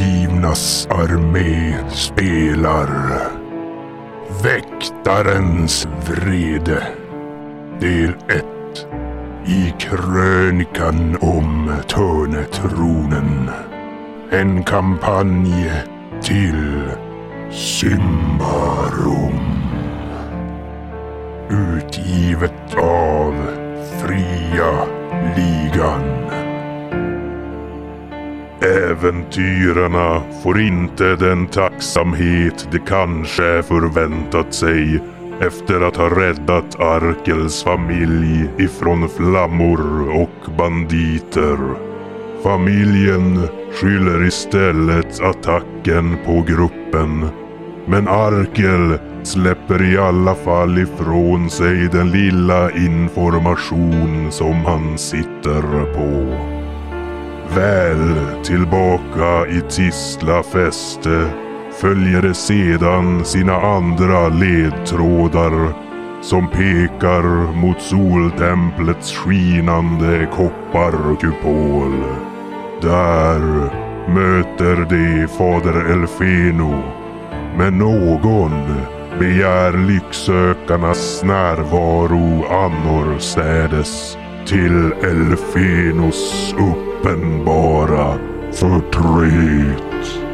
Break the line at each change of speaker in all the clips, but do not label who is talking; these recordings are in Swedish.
Lejonernas armé spelar Väktarens vrede Del 1 I krönikan om Törnetronen En kampanj till Symbarum Utgivet av Fria Ligan
Äventyrarna får inte den tacksamhet de kanske förväntat sig efter att ha räddat Arkels familj ifrån flammor och banditer. Familjen skyller istället attacken på gruppen. Men Arkel släpper i alla fall ifrån sig den lilla information som han sitter på. Väl tillbaka i Tisla fäste följer det sedan sina andra ledtrådar som pekar mot soltemplets skinande kopparkupol. Där möter de fader Elfeno, men någon begär lycksökarnas närvaro annorstädes till Elfenos uppenbara förtret.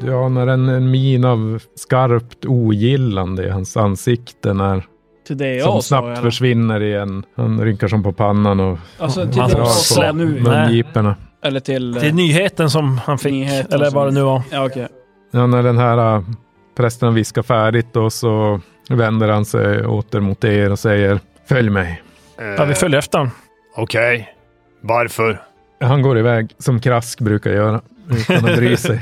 Du anar en, en min av skarpt ogillande i hans ansikte när
Till det jag
som
sa,
snabbt
eller?
försvinner igen. Han rynkar som på pannan och
Alltså till
Han
det
drar
jag
slä-
sa
på
nu.
mungiporna.
Eller till... eh,
Det är nyheten som han fick,
Nyheten
eller vad det
som-
nu var.
Ja okej.
Ja, när den här äh, prästen viskar färdigt då så vänder han sig åter mot er och säger Följ mig.
Ja, vi följer efter honom.
Okej. Varför?
Han går iväg som Krask brukar göra. Utan att bry sig.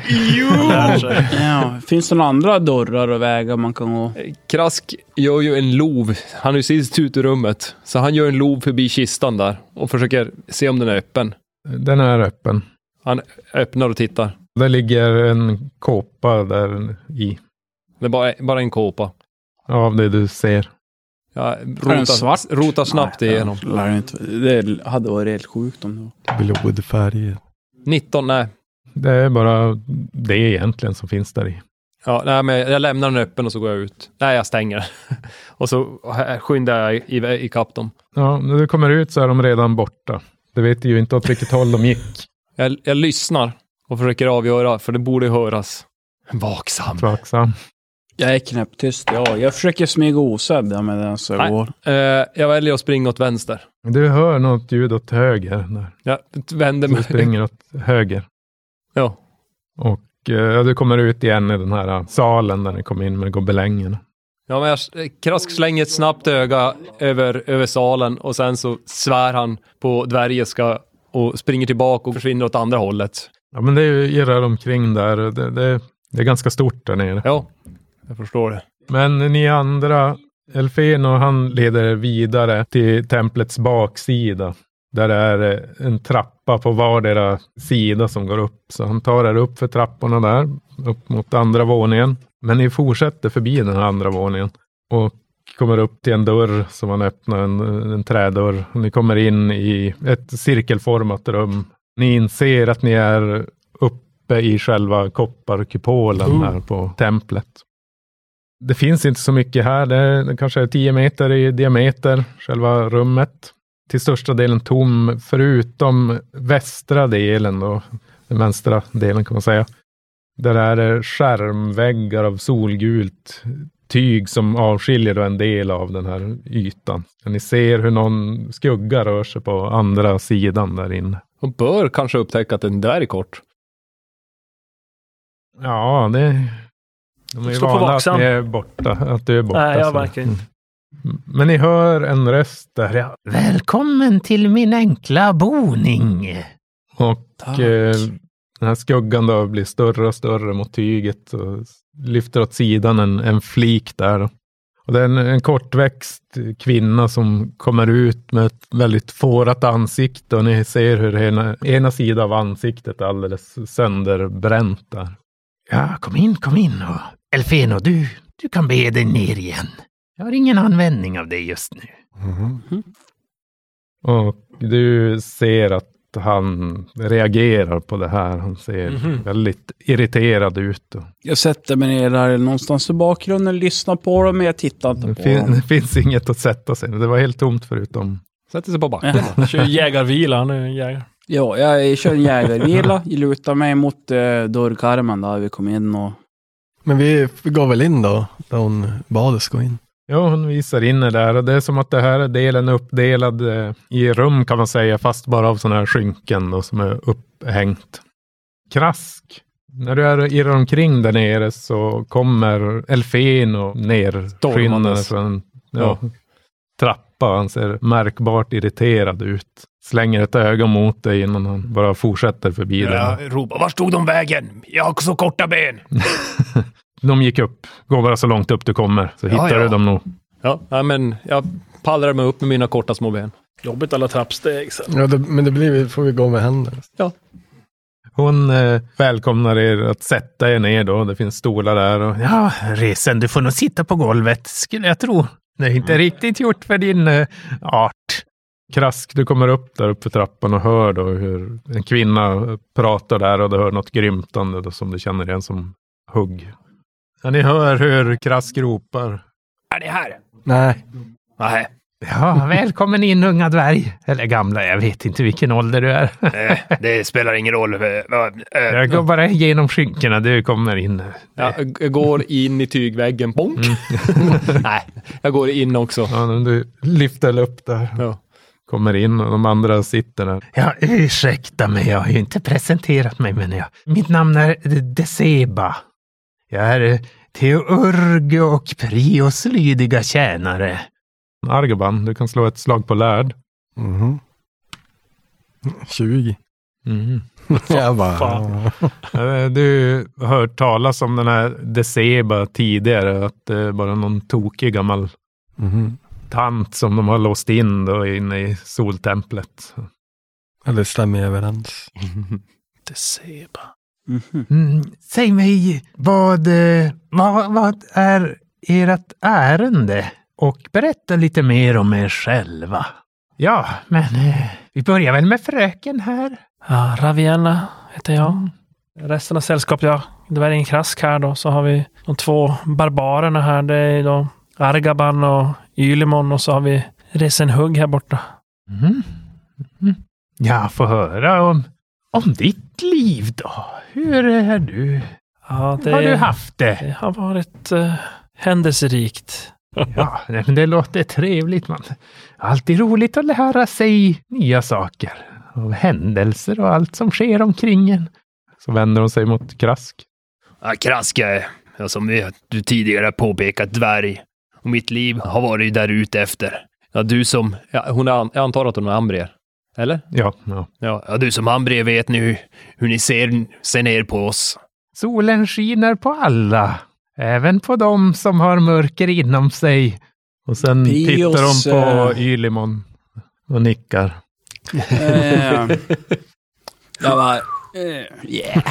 Ja, finns det några andra dörrar och vägar man kan gå?
Eh, Krask gör ju en lov. Han är ju sist ut ur rummet. Så han gör en lov förbi kistan där och försöker se om den är öppen.
Den är öppen.
Öppnar och tittar.
Där ligger en kåpa där i.
Det är bara, bara en kåpa.
Av det du ser.
Jag
den svart?
rotar, rotar snabbt
Nej,
igenom.
ja, lär inte- Det hade varit helt sjukt om det var.
Blodfärg.
19, nej.
Det är bara det egentligen som finns där i.
Ja, nej, men jag lämnar den öppen och så går jag ut. Nej, jag stänger. och så skyndar jag i- ikapp dem.
Ja, när du kommer ut så är de redan borta. Du vet ju inte åt vilket håll de gick.
Jag, jag lyssnar och försöker avgöra, för det borde höras. Vaksam.
Tveksam.
Jag är knäpptyst. Ja, jag försöker smyga osedd ja, med den så jag
Nej.
går.
Eh, jag väljer att springa åt vänster.
Du hör något ljud åt höger. Där.
Jag t- vänder
Du
mig.
springer åt höger.
Ja.
Och eh, du kommer ut igen i den här eh, salen där ni kom in med gobelängerna.
Ja, men jag, Krask slänger ett snabbt öga över, över salen och sen så svär han på dvärgiska och springer tillbaka och försvinner åt andra hållet.
Ja, men det är ju irrar omkring där. Det, det, det är ganska stort där nere.
Ja, jag förstår det.
Men ni andra, Elfeno han leder er vidare till templets baksida. Där det är eh, en trappa på vardera sida som går upp. Så han tar er upp för trapporna där, upp mot andra våningen. Men ni fortsätter förbi den här andra våningen. Och kommer upp till en dörr som han öppnar, en, en trädörr. Ni kommer in i ett cirkelformat rum. Ni inser att ni är uppe i själva kopparkupolen här på templet. Det finns inte så mycket här. Det, är, det kanske är 10 meter i diameter, själva rummet. Till största delen tom, förutom västra delen då, den vänstra delen kan man säga. Där är det skärmväggar av solgult tyg som avskiljer då en del av den här ytan. Och Ni ser hur någon skugga rör sig på andra sidan där inne.
Och bör kanske upptäcka att den där är kort.
Ja, det... De är ju
Slå på
vana
vaksam.
att ni är borta, att du är borta.
Nej, jag
så- Mm.
verkar inte.
Men ni hör en röst där. Ja. Välkommen till min enkla boning. Och eh, den här skuggan då blir större och större mot tyget och s- lyfter åt sidan en, en flik där. då. Och det är en, en kortväxt kvinna som kommer ut med ett väldigt fårat ansikte och ni ser hur ena, ena sidan av ansiktet är alldeles sönderbränt där. Ja, kom in, kom in. Och Elfeno, du, du kan bege dig ner igen. Jag har ingen användning av det just nu. Och Mhm. du ser att han reagerar på det här. Han ser väldigt irriterad ut. Och
Jag sätter mig ner där någonstans i bakgrunden, lyssnar på dem, men jag tittar inte
det,
på
fin-
dem.
det finns inget att sätta sig Det var helt tomt förutom...
Sätter sig på backen.
Ja.
bara.
Kör jägarvila, han är en jägare.
Ja, jag kör en jägarvila, lutar mig mot eh, dörrkarmen där vi kom in och
Men vi går väl in då, där hon bad oss gå in.
Ja, hon visar in det där och det är som att det här är delen uppdelad eh, i rum kan man säga, fast bara av sådana här skynken då, som är upphängt. Krask. När du är irrar omkring där nere så kommer Elfen och nerskyndande
Stormandes.
från ja, trappa. Han ser märkbart irriterad ut. Slänger ett öga mot dig innan han bara fortsätter förbi dig.
Jag ropar, vart tog de vägen? Jag har så korta ben.
De gick upp. Gå bara så långt upp du kommer så hittar
ja.
du dem nog.
Ja, nej, men jag pallrar mig upp med mina korta små ben.
Jobbigt alla trappsteg. Så.
Ja, det, men det blir, får vi gå med händerna.
Hon eh, välkomnar er att sätta er ner då. Det finns stolar där. Och, ja, resen, du får nog sitta på golvet, skulle jag tro. Det är inte riktigt gjort för din eh, art. Krask, du kommer upp där uppe för trappan och hör då hur en kvinna pratar där och du hör något grymtande då, som du känner igen som hugg. Ja, ni hör hur Krask ropar.
Är det här?
Nej,
Nej.
Ja, välkommen in unga dvärg. Eller gamla, jag vet inte vilken ålder du är.
eh, Det spelar ingen roll. Eh, eh, eh.
Jag går bara igenom skynkena, du kommer in.
Ja, jag går in i tygväggen. Bonk! nej, jag går in också.
Mm. Ja, men du lyfter upp där.
Ja.
Kommer in och de andra sitter där. Ja, ursäkta mig, jag har ju inte presenterat mig men jag. Mitt namn är Deseba. Jag är Teurge och Prios lydiga tjänare. Argoban, du kan slå ett slag på lärd.
Mhm. 20. Jag bara,
fan.
Eh, Du har hört talas om den här Deseba tidigare, att det är bara någon tokig gammal
Mhm.
tant som de har låst in då inne i soltemplet.
Ja, det stämmer överens.
Mhm.
Mm, säg mig, vad, eh, vad, vad är ert ärende? Och berätta lite mer om er själva. Ja, men eh, vi börjar väl med fröken här. Mm.
Ja, Ravienna heter jag. Resten av sällskapet, ja. Det var en krask här då. Så har vi de två barbarerna här. Det är då Argaban och Ylimon och så har vi Resenhugg här borta.
Mm. Mm. Ja, få höra om, om ditt liv då. Hur är du?
Ja, det,
Har du haft det?
det har varit eh, händelserikt.
Ja, nej, men det låter trevligt. Man. Alltid roligt att lära sig nya saker. Och händelser och allt som sker omkring en. Så vänder hon sig mot Krask.
Ja, Krask, jag är, ja, som vi- du tidigare påpekat, dvärg. Och mitt liv har varit där ute efter. Ja, du som,
Ja, hon är, an- jag antar att hon är ambrier. Eller?
Ja, ja.
ja, ja, du som han bredvid vet nu hur ni ser, ser ner på oss.
Solen skiner på alla. Även på dem som har mörker inom sig. Och sen
Pios,
tittar hon på
eh,
Ylimon. Och nickar.
Eh, jag bara, eh, yeah,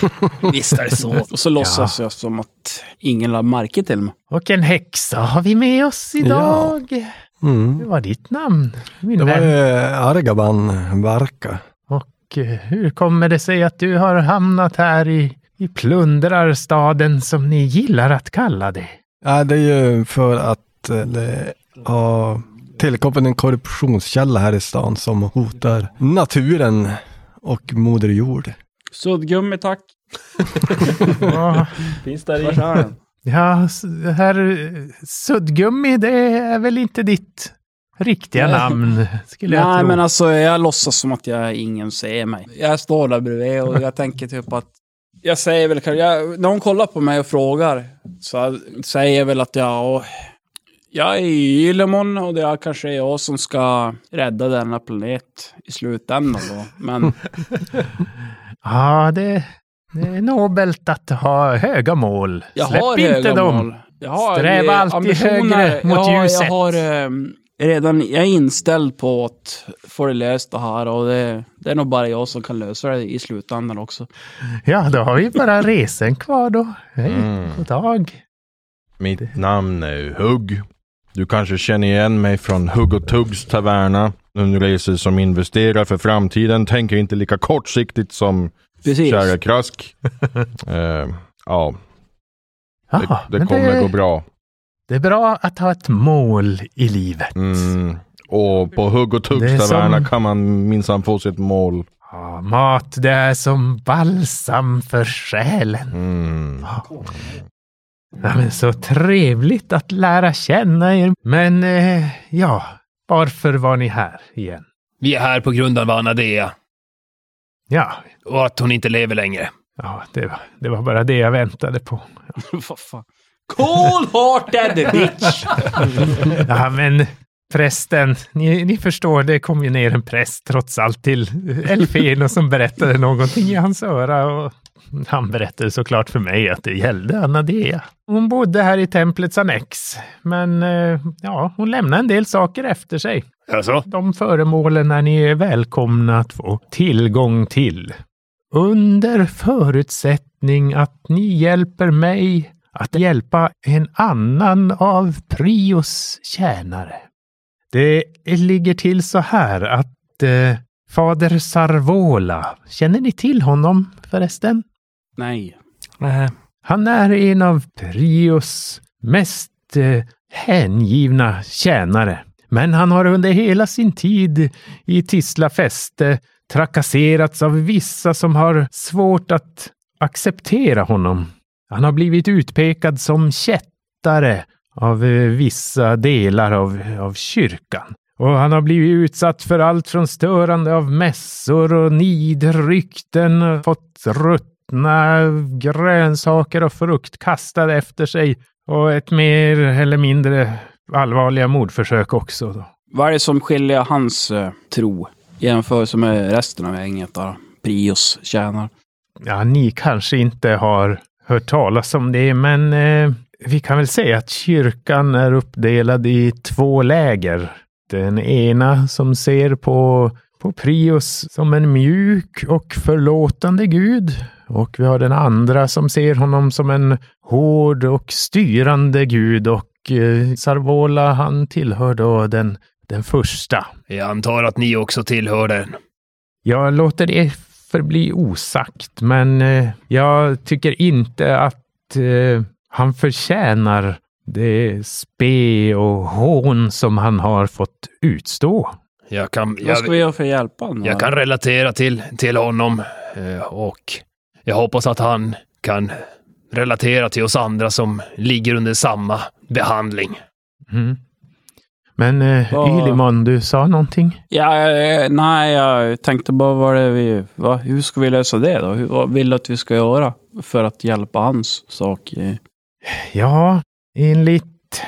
visst är det så. Och så låtsas jag som att ingen lade märke till mig.
Och en häxa har vi med oss idag.
Mm.
Det var ditt namn. Min
Det var
vän.
ju Argaban Varka.
Och eh, hur kommer det sig att du har hamnat här i, i plundrarstaden som ni gillar att kalla det?
Ja, det är ju för att eh, det har tillkommit en korruptionskälla här i stan som hotar naturen och moder jord.
Suddgummi tack.
Ja,
Finns där
Vart är den?
ja s- herr eh, Suddgummi, det är väl inte ditt riktiga
Nej.
namn, skulle jag
Nej,
tro.
men alltså jag låtsas som att jag ingen ser mig. Jag står där bredvid och jag tänker typ att... Jag säger väl kanske... Jag, när hon kollar på mig och frågar så jag säger jag väl att jag... åh, Jag är Ylemon och det är kanske jag som ska rädda denna planet i slutändan då. Men
Ja, det, det är nobelt att ha höga mål.
jag
Släpp
har
inte
höga
dem.
mål. Jag har
Sträva
eh,
alltid
ambitioner.
högre mot
ja,
ljuset.
Jag har eh, redan... Jag är inställd på att få det löst det här och det, det är nog bara jag som kan lösa det i slutändan också.
Ja, då har vi bara resen kvar då. Hej,
Mm.
god dag.
Mitt namn är Hugg. Du kanske känner igen mig från Hugg och Tuggs taverna. Nu läser som investerar för framtiden tänker inte lika kortsiktigt som
Precis.
kära Krask. Eh, ja,
Ja,
det, det
men
kommer
det,
gå bra.
det är bra att ha ett mål i livet.
Mm. Och på hugg och
Det är
tuggstaverna
som-
kan man minsann få sitt mål.
Ja, mat, det är som balsam för själen.
Mm.
Ja, men så trevligt att lära känna er. Men eh, ja, varför var ni här igen?
Vi är här på grund av Anadea
Ja,
och att hon inte lever längre.
ja det, var, det var bara det jag väntade på.
Vad fan. Cold hearted bitch!
Ja, men prästen, ni, ni förstår, det kom ju ner en präst trots allt till Elfeno som berättade någonting i hans öra. Och han berättade såklart för mig att det gällde Anadea. Hon bodde här i templets annex, men eh, ja, hon lämnade en del saker efter sig.
Alltså?
De föremålen är ni välkomna att få tillgång till. Under förutsättning att ni hjälper mig att hjälpa en annan av Prios tjänare. Det ligger till så här att eh, fader Sarvola, känner ni till honom förresten?
Nej.
Nej.
Han är en av Prios mest eh, hängivna tjänare. Men han har under hela sin tid i Tisla fäste trakasserats av vissa som har svårt att acceptera honom. Han har blivit utpekad som kättare av eh, vissa delar av, av kyrkan. Och han har blivit utsatt för allt från störande av mässor och nidrykten, fått ruttna grönsaker och frukt kastade efter sig och ett mer eller mindre allvarliga mordförsök också. Då.
Vad är det som skiljer hans eh, tro i jämförelse med resten av gänget där? Prios tjänar.
Ja, ni kanske inte har hört talas om det, men eh, vi kan väl säga att kyrkan är uppdelad i två läger. Den ena som ser på, på Prius som en mjuk och förlåtande gud. Och vi har den andra som ser honom som en hård och styrande gud. Och eh, Sarvola, han tillhör då den, den första.
Jag antar att ni också tillhör den.
Jag låter det förbli osagt, men eh, jag tycker inte att eh, han förtjänar det spe och hån som han har fått utstå.
Jag kan,
Vad ska vi
jag,
göra för att hjälpa honom?
jag kan relatera till, till honom eh, och jag hoppas att han kan relatera till oss andra som ligger under samma behandling.
Mm. Men eh,
Ja.
Ylimon, du sa någonting?
Ja, eh, nej, jag tänkte bara vad det är vi... Va? Hur ska vi lösa det då? Hur, vad vill du att vi ska göra för att hjälpa hans sak? eh?
Ja, enligt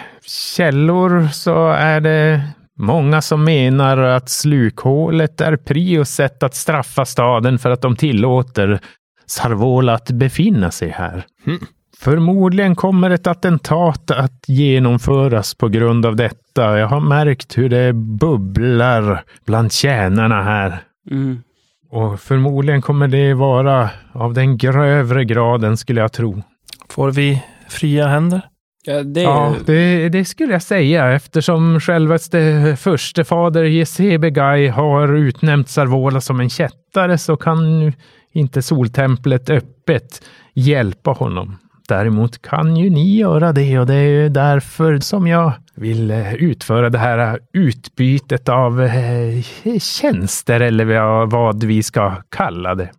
källor så är det många som menar att slukhålet är Prios sätt att straffa staden för att de tillåter Sarvola att befinna sig här.
Mm.
Förmodligen kommer ett attentat att genomföras på grund av detta. Jag har märkt hur det bubblar bland tjänarna här.
Mm.
Och förmodligen kommer det vara av den grövre graden skulle jag tro.
Får vi fria händer?
Ja, det...
Ja, det, det skulle jag säga eftersom självaste förstefader Jesebegai har utnämnt Sarvola som en kättare så kan ju inte soltemplet öppet hjälpa honom. Däremot kan ju ni göra det och det är ju därför som jag vill eh, utföra det här utbytet av eh, tjänster eller vad- vad vi ska kalla det.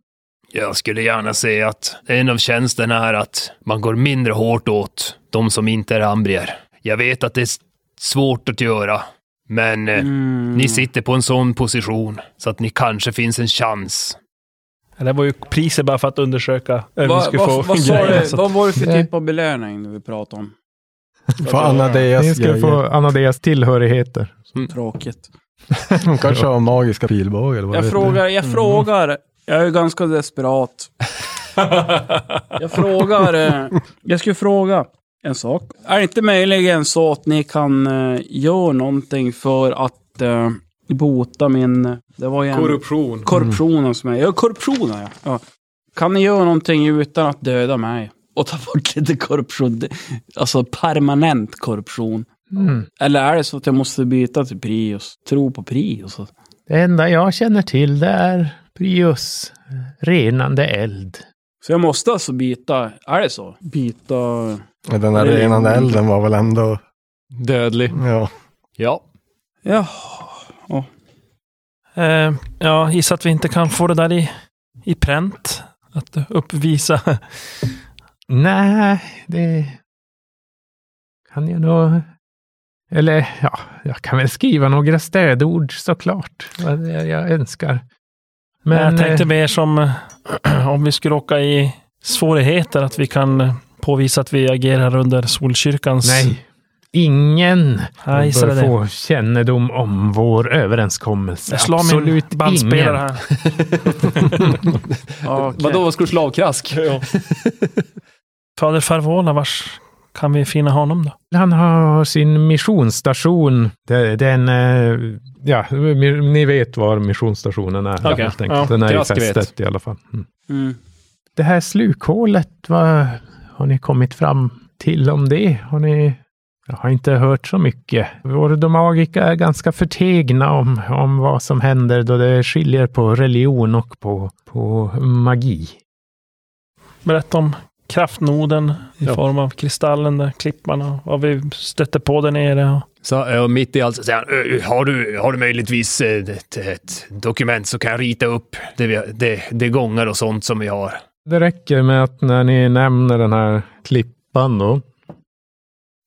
Jag skulle gärna se att en av tjänsterna är att man går mindre hårt åt de som inte är ambrier. Jag vet att det är s- svårt att göra, men eh,
Mm.
ni sitter på en sån position så att ni kanske finns en chans.
Det här var ju priset bara för att undersöka
Eh,
om vi
Vad
skulle
vad-
få
vad sa
grejer,
du?
alltså.
så att-
Vad var det för typ av belöning vi pratade om?
För Anadeas
Ni ska
grejer.
få Anadeas tillhörigheter.
Tråkigt.
Hon kanske har magiska pilbågar eller vad
Jag
vet
frågar, jag
Mm.
frågar. Jag är ju ganska desperat. jag frågar. eh, Jag skulle fråga en sak. Är det inte möjligen så att ni kan eh, göra någonting för att eh, bota min... Det var ju en...
Korruption.
Korruptionen som är... Ja, korruptionen ja. ja. Kan ni göra någonting utan att döda mig? Och ta bort lite korruption. Det- Alltså permanent korruption.
Mm.
Eller är det så att jag måste byta till Prius? alltså. Tro på Prius?
Det enda jag känner till det är Prius renande eld.
Så jag måste alltså byta, är det så? Byta...
Den där
Det är-
renande elden var väl ändå...
Dödlig.
Ja.
Ja.
Ja,
Eh, ja, gissar att vi inte kan få det där i, i pränt. Att uppvisa.
Nej, det kan jag nog... Eller ja, jag kan väl skriva några stödord såklart, vad det är jag önskar.
Men,
Men
jag tänkte
eh,
mer som eh, om vi skulle åka i svårigheter, att vi kan eh, påvisa att vi agerar under Solkyrkans...
nej, ingen
jag gissade
bör
det.
få kännedom om vår överenskommelse.
Jag slår min
Absolut
bandspelare
ingen.
här.
okej.
Vadå, vad skulle du slå av krask?
Fader Farvola, vars kan vi finna honom då?
Han har sin missionsstation. Det- Den, eh, ja, mi- ni vet var missionsstationen är.
Okej,
helt
ja,
enkelt. Den är i
Krask vet.
fästet i alla fall. Mm.
Mm.
Det här slukhålet, vad har ni kommit fram till om det? Har ni... Jag har inte hört så mycket. Vordomagika är ganska förtegna om, om vad som händer då det skiljer på religion och på, på magi.
Berätta om kraftnoden i
Ja.
form av kristallen, där klippan och vad vi stötte på där nere. Och
Så, eh, och mitt i allt så säger han, "Ö, ö, har du, har du möjligtvis eh, ett, ett dokument så kan jag rita upp det, vi, det, det gångar och sånt som vi har.
Det räcker med att när ni nämner den här klippan då,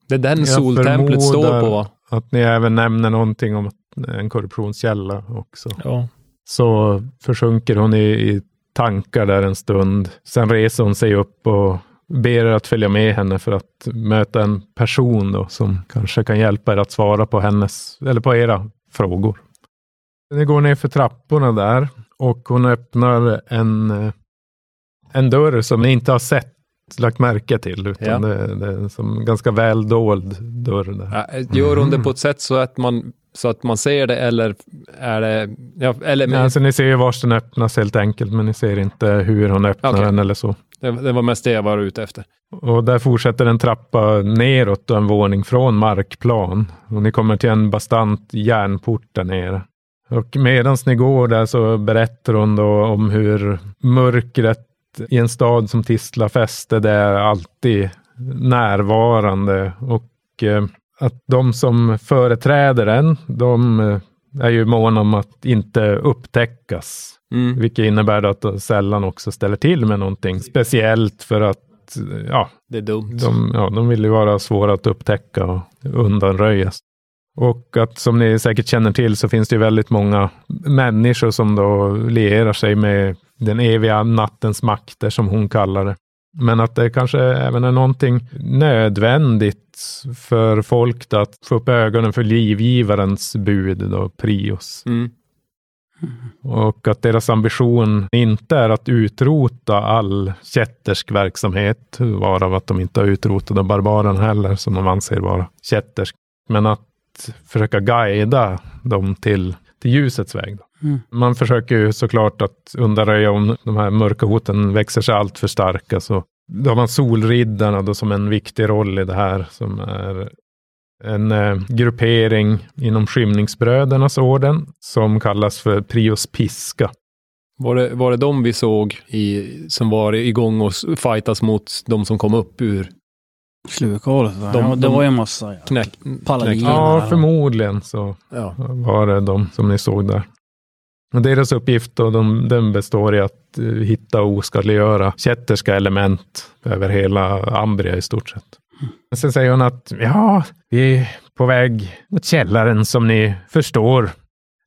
Det är den
Jag
soltemplet står
förmodar-
på va?
att ni även nämner någonting om att- en korruptionskälla också.
ja.
så försjunker hon i, i tankar där en stund. Sen reser hon sig upp och ber er att följa med henne för att möta en person då, som kanske kan hjälpa er att svara på hennes, eller på era frågor. Ni går ner för trapporna där och hon öppnar en, eh, en dörr som ni inte har sett, lagt märke till, utan
Ja.
det, det är en som ganska väl dold dörr där.
Ja, eh, Gör hon det på ett sätt så att man, så att man ser det eller är det... Ja, eller,
Men, alltså, ni ser ju vars den öppnas helt enkelt, men ni ser inte hur hon öppnar
Okej.
den eller så.
det, det var mest det jag var ute efter.
Och där fortsätter en trappa neråt och en våning från markplan. Och ni kommer till en bastant järnport där nere. Och medan ni går där så berättar hon då om hur mörkret i en stad som Tisla fäste, det är alltid närvarande. Och eh, att de som företräder den, de eh, är ju måna om att inte upptäckas.
Mm.
Vilket innebär då att de sällan också ställer till med någonting speciellt för att ja,
Det är dumt.
de, ja, de vill ju vara svåra att upptäcka och undanröjas. Och att som ni säkert känner till så finns det ju väldigt många människor som då lierar sig med den eviga nattens makter som hon kallar det. Men att det kanske även är någonting nödvändigt för folk då att få upp ögonen för livgivarens bud, då, prios.
Mm.
Och att deras ambition inte är att utrota all kättersk verksamhet, varav att de inte har utrotat de barbaren heller, som de anser vara kättersk. Men att försöka guida dem till, till ljusets väg. Då.
Mm.
Man försöker ju såklart att undanröja om de här mörka hoten växer sig allt för starka. Så då har man Solriddarna då som en viktig roll i det här, som är en eh, gruppering inom Skymningsbrödernas orden som kallas för Prius Piska.
Var, det, var det de vi såg i, som var igång och s- fightas mot de som kom upp ur
Slukhålet. va?
De-
ja, det
de-
var ju en massa. Ja.
knäck...
Paladiner.
knäck-
Ja,
där.
förmodligen så
Ja.
var det de som ni såg där. Och deras uppgift då, de, den består i att eh, hitta och oskadliggöra kätterska element över hela Ambria i stort sett.
Sen säger hon att ja, vi är på väg mot källaren som ni förstår.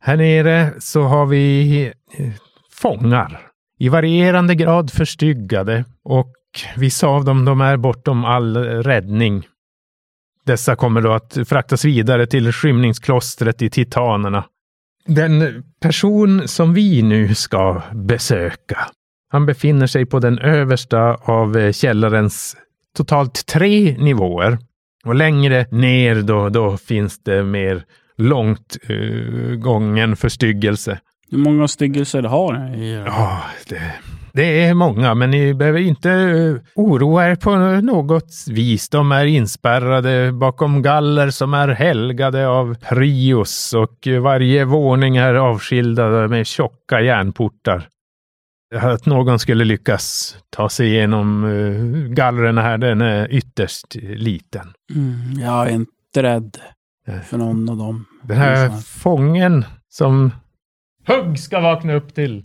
Här nere så har vi eh, fångar i varierande grad förstyggade och vissa av dem de är bortom all räddning. Dessa kommer då att fraktas vidare till skymningsklostret i Titanerna. Den person som vi nu ska besöka, han befinner sig på den översta av eh, källarens totalt tre nivåer. Och längre ner då, då finns det mer långt eh, gången förstyggelse.
Hur många styggelser har ni?
Ja, det, Det är många, men ni behöver inte eh, oroa er på något vis. De är inspärrade bakom galler som är helgade av Prius och eh, varje våning är avskildad med tjocka järnportar. Att någon skulle lyckas ta sig igenom eh, gallren här, den är ytterst liten.
Mm, jag är inte rädd
Nej.
för någon av dem.
Den här fången som Hugg ska vakna upp till.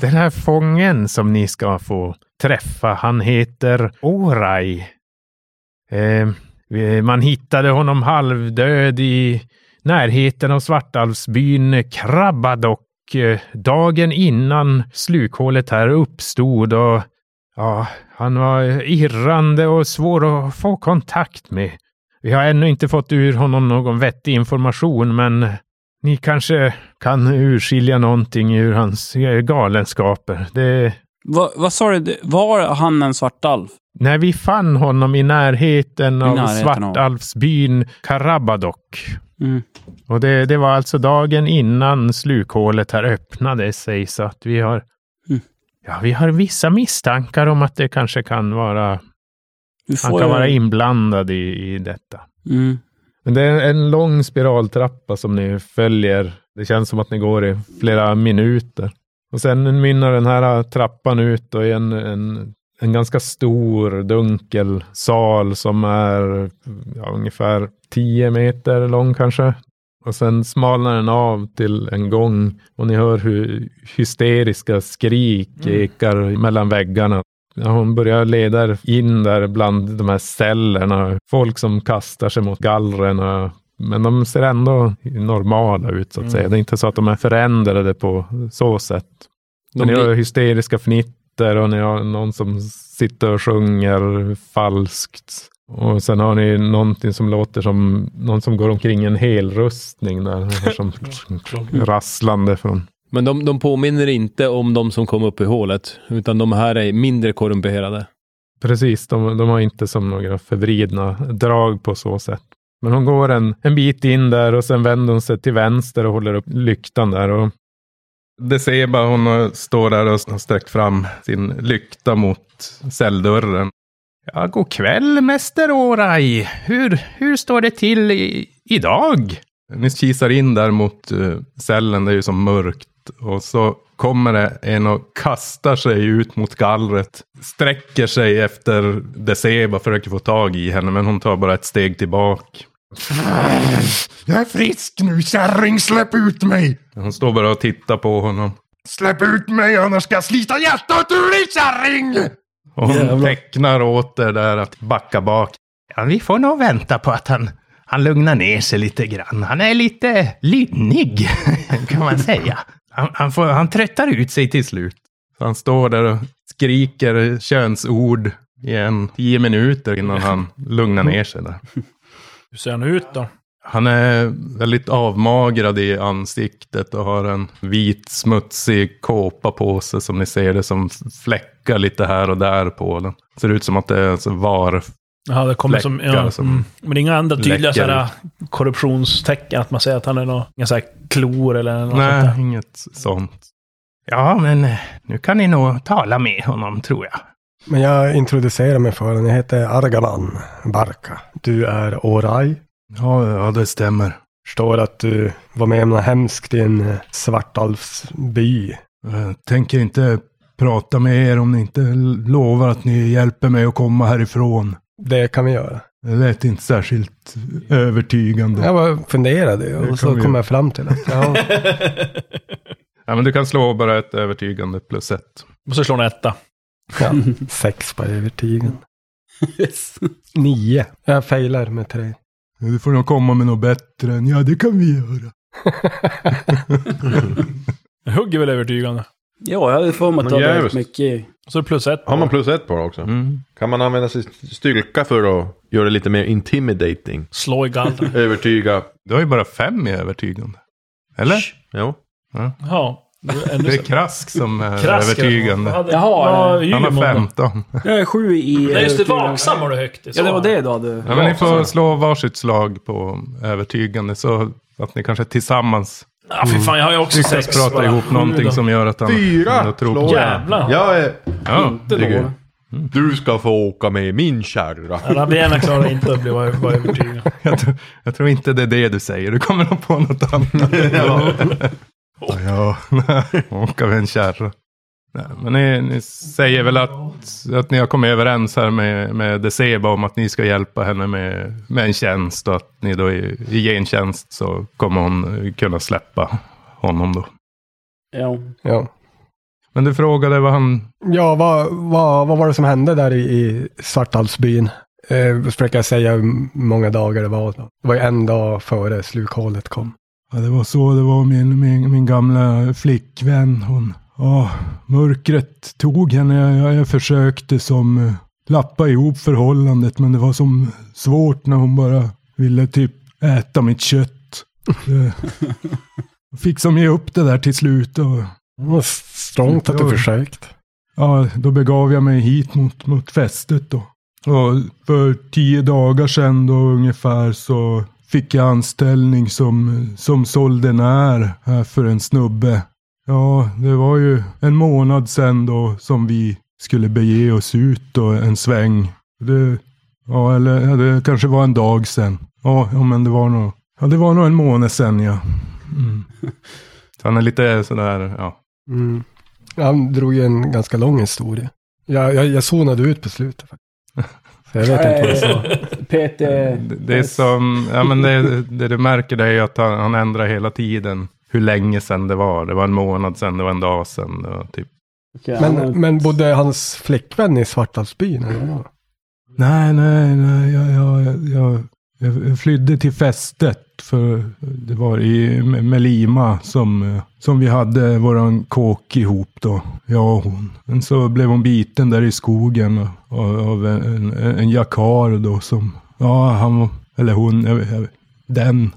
Den här fången som ni ska få träffa, han heter Orai. Eh, vi- man hittade honom halvdöd i närheten av Svartalvsbyn Krabbadock eh, dagen innan slukhålet här uppstod och ja, han var irrande och svår att få kontakt med. Vi har ännu inte fått ur honom någon vettig information, men ni kanske kan urskilja någonting ur hans eh, galenskaper. Det,
Va- Vad sa du? Det- Var han en svartalv?
när vi fann honom i närheten av
närheten av-
Svartalvsbyn Karabadok.
Mm.
Och det, det var alltså dagen innan slukhålet här öppnade sig, så att vi har,
Mm.
ja, vi har vissa misstankar om att det kanske kan vara,
Du
han kan vara inblandad i, i detta.
Mm.
Men det är en lång spiraltrappa som ni följer. Det känns som att ni går i flera minuter. Och sen mynnar den här trappan ut och i en, en, en ganska stor, dunkel sal som är ja, ungefär 10 meter lång kanske. Och sen smalnar den av till en gång och ni hör hur hysteriska skrik ekar mellan väggarna. Ja, hon börjar leda er in där bland de här cellerna. Folk som kastar sig mot gallren. och- Men de ser ändå normala ut så att säga. Det är inte så att de är förändrade på så sätt.
De
ni
blir-
har hysteriska fnitter och ni har någon som sitter och sjunger falskt. Och sen har ni någonting som låter som någon som går omkring i en helrustning där. Som rasslande från
Men de, de påminner inte om de som kom upp i hålet, utan de här är mindre korrumperade.
Precis, de, de har inte som några förvridna drag på så sätt. Men hon går en, en bit in där och sen vänder hon sig till vänster och håller upp lyktan där. Och Deseba, hon har- står där och har sträckt fram sin lykta mot celldörren.
Ja, god kväll, mäster Orai. Hur, hur står det till i, idag?
Ni kisar in där mot eh, cellen, det är ju som mörkt. Och så kommer det en och kastar sig ut mot gallret. Sträcker sig efter Deseba, försöker få tag i henne, men hon tar bara ett steg tillbaka.
Jag är frisk nu, kärring! Släpp ut mig!
Hon står bara och tittar på honom.
Släpp ut mig annars ska jag slita hjärtat ur dig, kärring!
Och hon tecknar åt er där att backa bak.
Ja, vi får nog vänta på att han, han lugnar ner sig lite grann. Han är lite lynnig, kan man säga. Han, han, får, han tröttar ut sig till slut.
Så han står där och skriker könsord i en tio minuter innan han lugnar ner sig där.
Hur ser han ut då?
Han är väldigt avmagrad i ansiktet och har en vit smutsig kåpa på sig som ni ser det som fläckar lite här och där på den. Ser ut som att det är så var
Ja, det kommer som...
Fläckar
Ja,
som
mm. Men inga andra tydliga
läcker
sådana korruptionstecken? Att man säger att han är någon, inga så här klor eller något sånt
Nej,
där?
inget sånt.
Ja, men eh, nu kan ni nog tala med honom, tror jag.
Men jag introducerar mig för den. Jag heter Argaban Barka. Du är Orai.
Ja, ja, det stämmer.
Förstår att du var med om något hemskt i en eh, svartalvsby.
Jag tänker inte prata med er om ni inte lovar att ni hjälper mig att komma härifrån.
Det kan vi göra.
Det lät inte särskilt övertygande.
Jag bara funderade och
kan
så
vi
kom
göra.
jag fram till att ja,
Ja, men du kan slå bara ett övertygande plus ett.
Och så slår han etta.
ja, sex på övertygen. Nio. Jag failar med tre.
Du får nog komma med något bättre än, ja det kan vi göra.
Hugg är väl övertygande.
Ja, jag hade för mig att
Men
du hade
jävligt.
rätt mycket.
Och så är det plus ett.
Har man plus ett på det också?
Mm.
Kan man använda sin styrka för att göra det lite mer intimidating?
Slå i galgen.
Övertyga?
Du har ju bara fem i övertygande. Eller?
Jo.
Ja.
Det är Krask som är
Krask,
övertygande.
Jaha,
Han har 15.
Jag är sju i... eh,
Nej, just det. Vaksam var du högt.
Ja, det var det du hade.
Ja, men ni får slå varsitt slag på övertygande så att ni kanske tillsammans
Ja, fy fan, jag har ju också
Lyckas
sex.
prata
bara.
ihop någonting
Sju
som gör att han...
Fyra!
ändå tror på
slår
det.
jag.
Jävlar.
Jag är...
Ja,
då.
tycker jag. Du ska få åka med min kärra.
Ja, Rabena klarar inte att bli vara vara övertygad.
Jag, tror- jag tror inte det är det du säger. Du kommer nog på något annat. ja. ja, åka med en kärra. Nej, men ni, ni säger väl att, att ni har kommit överens här med, med Deceba om att ni ska hjälpa henne med, med en tjänst och att ni då i, i gentjänst så kommer hon eh, kunna släppa honom då.
Ja.
Ja,
Men du frågade vad han...
ja vad, vad, vad var det som hände där i, i Svartalsbyn? Eh, försöker jag säga hur många dagar det var. Det var ju en dag före slukhålet kom.
Ja, det var så det var min, min, min gamla flickvän. Hon, ja, mörkret tog henne. Jag, jag försökte som eh, lappa ihop förhållandet, men det var som svårt när hon bara ville typ äta mitt kött. Det, jag fick som ge upp det där till slut och
Vad strångt att du försökt.
ja, då begav jag mig hit mot, mot fästet då. Och för tio dagar sedan då ungefär så fick jag anställning som, som soldenär här för en snubbe. Ja, det var ju en månad sedan då som vi skulle bege oss ut då en sväng. Det, ja, eller ja, det kanske var en dag sedan. Ja, ja men det var nog, ja, det var nog en månad sedan ja. Mm. Han är lite sådär, ja.
Mm. Han drog ju en ganska lång historia. Jag, jag, jag zonade ut på slutet. faktiskt. Så jag vet inte vad jag sa.
PT...
Det, det är som, ja men det, det du märker det är ju att han, han ändrar hela tiden hur länge sedan det var. Det var en månad sedan, det var en dag sedan. Det var typ.
Men, men bodde hans flickvän i Svartalsbyn? eller vad?
Nej, nej, nej, jag, jag, jag, jag flydde till fästet. För det var i Melima som, som vi hade våran kåk ihop då. Jag och hon. Men så blev hon biten där i skogen av, av en, en, en jakar då som, ja han, eller hon, jag, vet- jag, vet- den.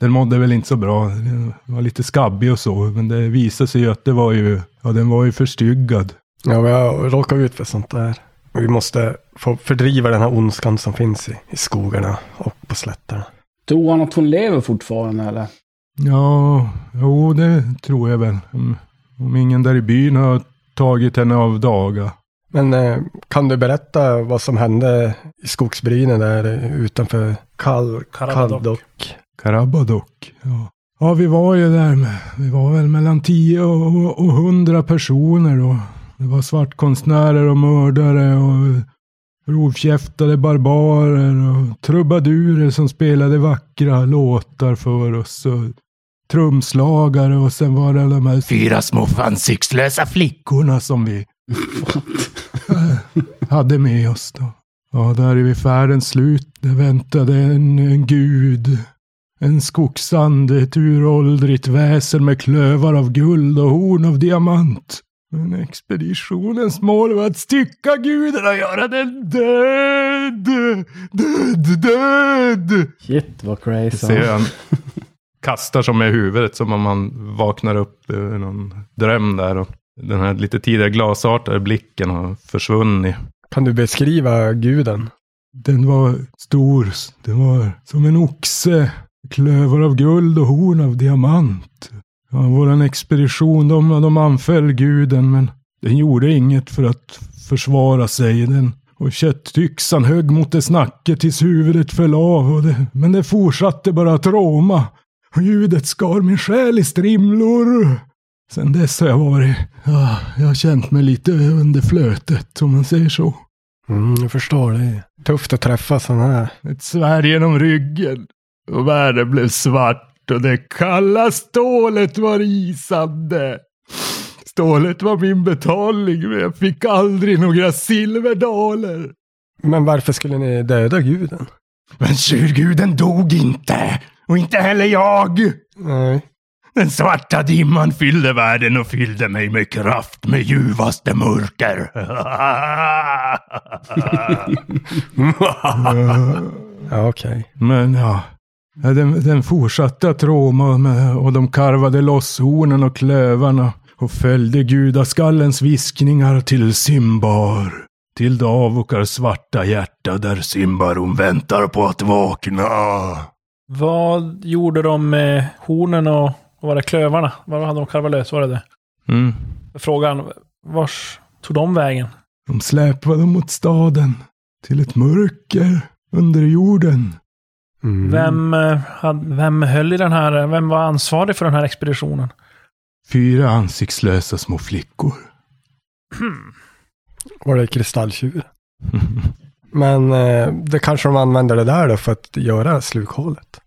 Den mådde väl inte så bra. Den var lite skabbig och så. Men det visade sig ju att det var ju, ja den var ju förstyggad.
Ja, men jag råkar ut för sånt där. Vi måste få fördriva den här ondskan som finns i, i skogarna och på slätterna.
Tror han att hon lever fortfarande eller?
Ja, jo det tror jag väl. Om- Om ingen där i byn har tagit henne av daga.
Men eh, kan du berätta vad som hände i skogsbrynen där eh, utanför Kall,
Karabadok.
Kaldok?
Karabadok, ja. Ja, vi var ju där med, vi var väl mellan 10 och, och, och 100 personer då. Det var svartkonstnärer och mördare och rovkäftade barbarer och trubadurer som spelade vackra låtar för oss. Och trumslagare och sen var det de här fyra små ansiktslösa flickorna som vi hade med oss då. Ja, där är vi färdens slut. Där väntade en, en gud. En skogsand, ett uråldrigt väsen med klövar av guld och horn av diamant. Men expeditionens mål var att stycka guden och göra den död! Död, död!
Shit vad crazy.
Ser hur han kastar som med huvudet som om han vaknar upp ur någon dröm där. Och den här lite tidigare glasartade blicken har försvunnit.
Kan du beskriva guden?
Den var stor. Den var som en oxe. Klövar av guld och horn av diamant. Ja, våran expedition, de, de anföll guden, men den gjorde inget för att försvara sig. Den, och köttyxan högg mot dess nacke tills huvudet föll av. Och det, men det fortsatte bara att råma. Och ljudet skar min själ i strimlor. Sen dess har jag varit, ja, jag har känt mig lite under flötet, om man säger så.
Mm, jag förstår det. Tufft att träffa sådana här.
Ett svärd genom ryggen. Och världen blev svart och det kalla stålet var isande. Stålet var min betalning men jag fick aldrig några silverdaler.
Men varför skulle ni döda guden?
Men surguden dog inte. Och inte heller jag.
Nej.
Den svarta dimman fyllde världen och fyllde mig med kraft med ljuvaste mörker.
Ja, okej.
Men ja, ja, den, den fortsatte att råma med- och de karvade loss hornen och klövarna och följde gudaskallens viskningar till Simbar. Till Davokars svarta hjärta där Simbaron väntar på att vakna.
Vad gjorde de med hornen och, Vad var det? Klövarna? Vad hade de karvat lös? Var det det?
Mm.
Frågan, vars tog de vägen?
De släpade dem mot staden. Till ett mörker under jorden. Mm.
Mm.
Vem, eh, hade, vem höll i den här, vem var ansvarig för den här expeditionen?
Fyra ansiktslösa små flickor.
Var det kristalltjur? Men eh, det kanske de använder det där då för att göra slukhålet.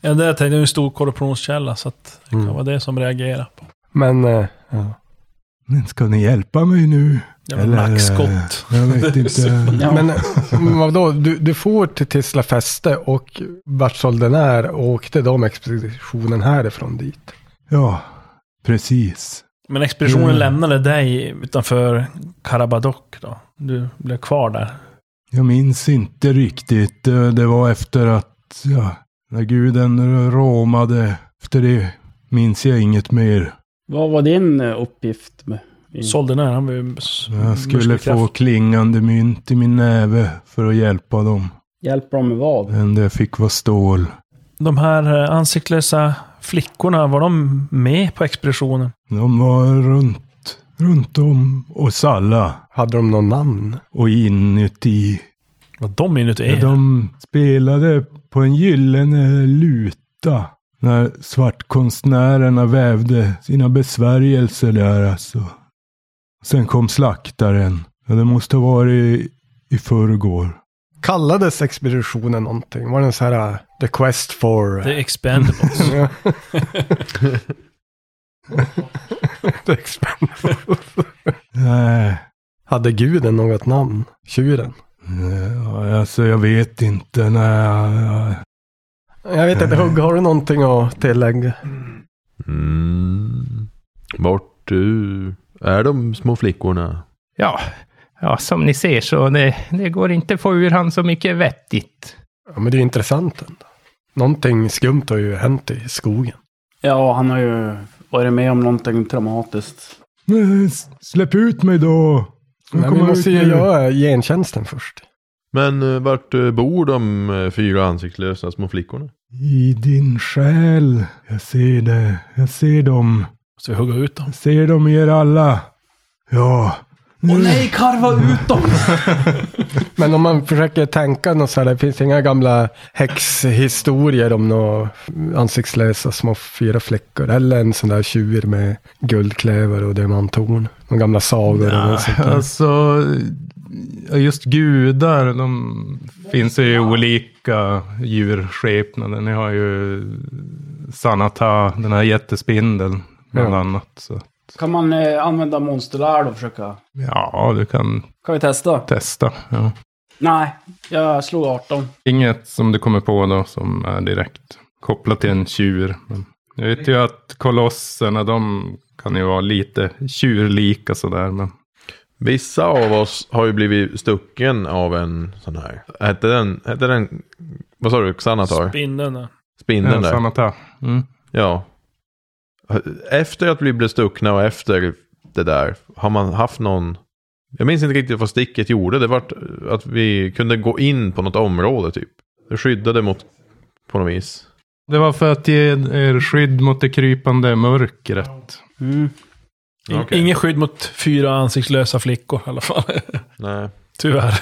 Ja, det jag tänkte, det är en stor korruptionskälla, så att det
Mm.
kan vara det som reagerar. På.
Men eh, ja.
Men ska ni hjälpa mig nu?
Ja, men nackskott.
eh, Jag vet inte.
Ja.
Men men vadå, du, du får till Tisla fäste och Bertsolden är och åkte de expeditionen härifrån dit.
Ja, precis.
Men expeditionen
Mm.
lämnade dig utanför Karabadok då? Du blev kvar där?
Jag minns inte riktigt. Eh, Det var efter att, ja, när guden råmade. Efter det minns jag inget mer.
Vad var din eh, uppgift? Med? Mm.
Sålde när han blev s-
Jag skulle
muskelkraft.
få klingande mynt i min näve för att hjälpa dem.
Hjälper dem med vad?
Det enda jag fick var stål.
De här eh, ansiktslösa flickorna, var de med på expeditionen?
De var runt, runt om oss alla.
Hade de någon namn?
Och inuti.
Var de inuti er?
De spelade på en gyllene luta. När svartkonstnärerna vävde sina besvärjelser där alltså. Sen kom slaktaren. Ja, det måste ha varit i, i förrgår.
Kallades expeditionen någonting? Var det en så här eh, the quest for... uh,
The Expendables.
Ja. the expand-
Nej,
Hade guden något namn? Tjuren?
nej, alltså jag vet inte. Nej,
Jag vet inte, Hugg, har du någonting att tillägga?
Mm. Vart du... Är de små flickorna?
Ja, ja som ni ser så det, det går inte att få ur han så mycket vettigt.
Ja, men det är ju intressant ändå. Någonting skumt har ju hänt i skogen.
Ja, han har ju varit med om någonting traumatiskt.
nej, s- släpp ut mig då. Jag
Men vi
kommer
måste
ut
ju
nu.
göra gentjänsten först.
Men eh, vart eh, bor de eh, fyra ansiktslösa små flickorna?
I din själ. Jag ser det. Jag ser dem.
Så vi hugga ut dem.
Jag ser dem i er alla. Ja.
Åh nej, karva ut dem!
Men om man försöker tänka något så här, det finns inga gamla häxhistorier om några ansiktslösa små fyra flickor. Eller en sån där tjur med guldklöver och diamanthorn. Några gamla sagor eller något sånt där.
Alltså, ja, just gudar, de finns ju i olika djurskepnader. Ni har ju Sanata, den här jättespindeln, bland
Ja.
annat. Så.
Kan man eh, använda monsterlärd och försöka?
Ja, du kan
Kan vi testa?
testa. Ja.
Nej, jag slog 18.
Inget som du kommer på då som är direkt kopplat till en tjur. Men jag vet ju att kolosserna, de kan ju vara lite tjurlika sådär. Men
Vissa av oss har ju blivit stucken av en sån här. Hette den, hette den vad sa du, Xanatar?
Spindeln där.
Spindeln
ja,
där.
Sanata. Mm.
Ja. Efter att vi blev stuckna och efter det där, har man haft någon... Jag minns inte riktigt vad sticket gjorde. Det var att vi kunde gå in på något område typ. Det skyddade mot, på något vis.
Det var för att ge er skydd mot det krypande mörkret.
Mm.
In,
Okej.
Ingen skydd mot fyra ansiktslösa flickor i alla fall.
Nej.
Tyvärr.